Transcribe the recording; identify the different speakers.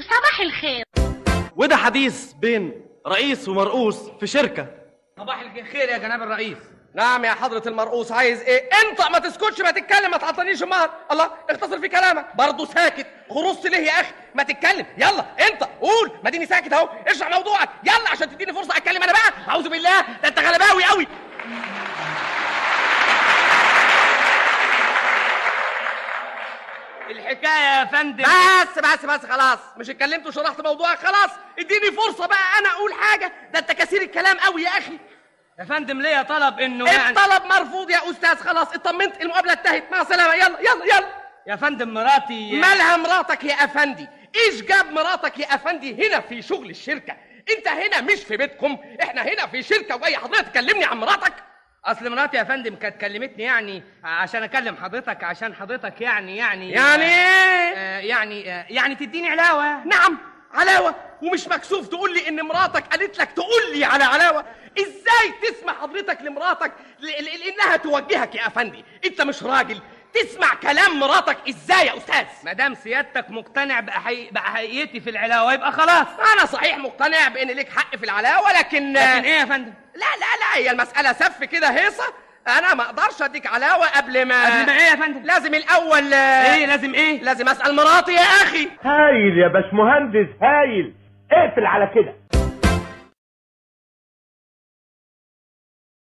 Speaker 1: صباح الخير
Speaker 2: وده حديث بين رئيس ومرؤوس في شركه
Speaker 3: صباح الخير يا جناب الرئيس
Speaker 2: نعم يا حضرة المرؤوس عايز ايه؟ انطق ما تسكتش ما تتكلم ما تعطلنيش النهر الله اختصر في كلامك برضه ساكت غرصت ليه يا اخي؟ ما تتكلم يلا انطق قول ما ديني ساكت اهو اشرح موضوعك يلا عشان تديني فرصة اتكلم انا بقى اعوذ بالله ده انت غلباوي قوي
Speaker 3: الحكايه يا فندم
Speaker 2: بس بس بس خلاص مش اتكلمت وشرحت موضوعك خلاص اديني فرصة بقى انا اقول حاجة ده انت كثير الكلام قوي يا اخي
Speaker 3: يا فندم ليا طلب انه يعني
Speaker 2: الطلب مرفوض يا استاذ خلاص اطمنت المقابلة انتهت مع السلامة يلا يلا يلا
Speaker 3: يا فندم مراتي
Speaker 2: مالها مراتك يا افندي ايش جاب مراتك يا افندي هنا في شغل الشركه انت هنا مش في بيتكم احنا هنا في شركه وجاي حضرتك تكلمني عن مراتك
Speaker 3: اصل مراتي يا فندم كانت كلمتني يعني عشان اكلم حضرتك عشان حضرتك يعني يعني
Speaker 2: يعني ايه
Speaker 3: آه يعني آه يعني تديني علاوه
Speaker 2: نعم علاوه ومش مكسوف تقول لي ان مراتك قالت لك تقول لي على علاوه ازاي تسمع حضرتك لمراتك ل- ل- لانها توجهك يا افندي انت مش راجل تسمع كلام مراتك ازاي يا استاذ
Speaker 3: ما دام سيادتك مقتنع بحقي... بحقيقتي في العلاوه يبقى خلاص
Speaker 2: انا صحيح مقتنع بان ليك حق في العلاوه لكن
Speaker 3: لكن ايه يا فندم
Speaker 2: لا لا لا هي المسألة سف كده هيصة أنا ما أقدرش أديك علاوة قبل ما
Speaker 3: قبل ما ايه يا فندم
Speaker 2: لازم الأول
Speaker 3: ايه لازم ايه
Speaker 2: لازم أسأل مراتي يا أخي
Speaker 4: هايل يا باشمهندس هايل اقفل على كده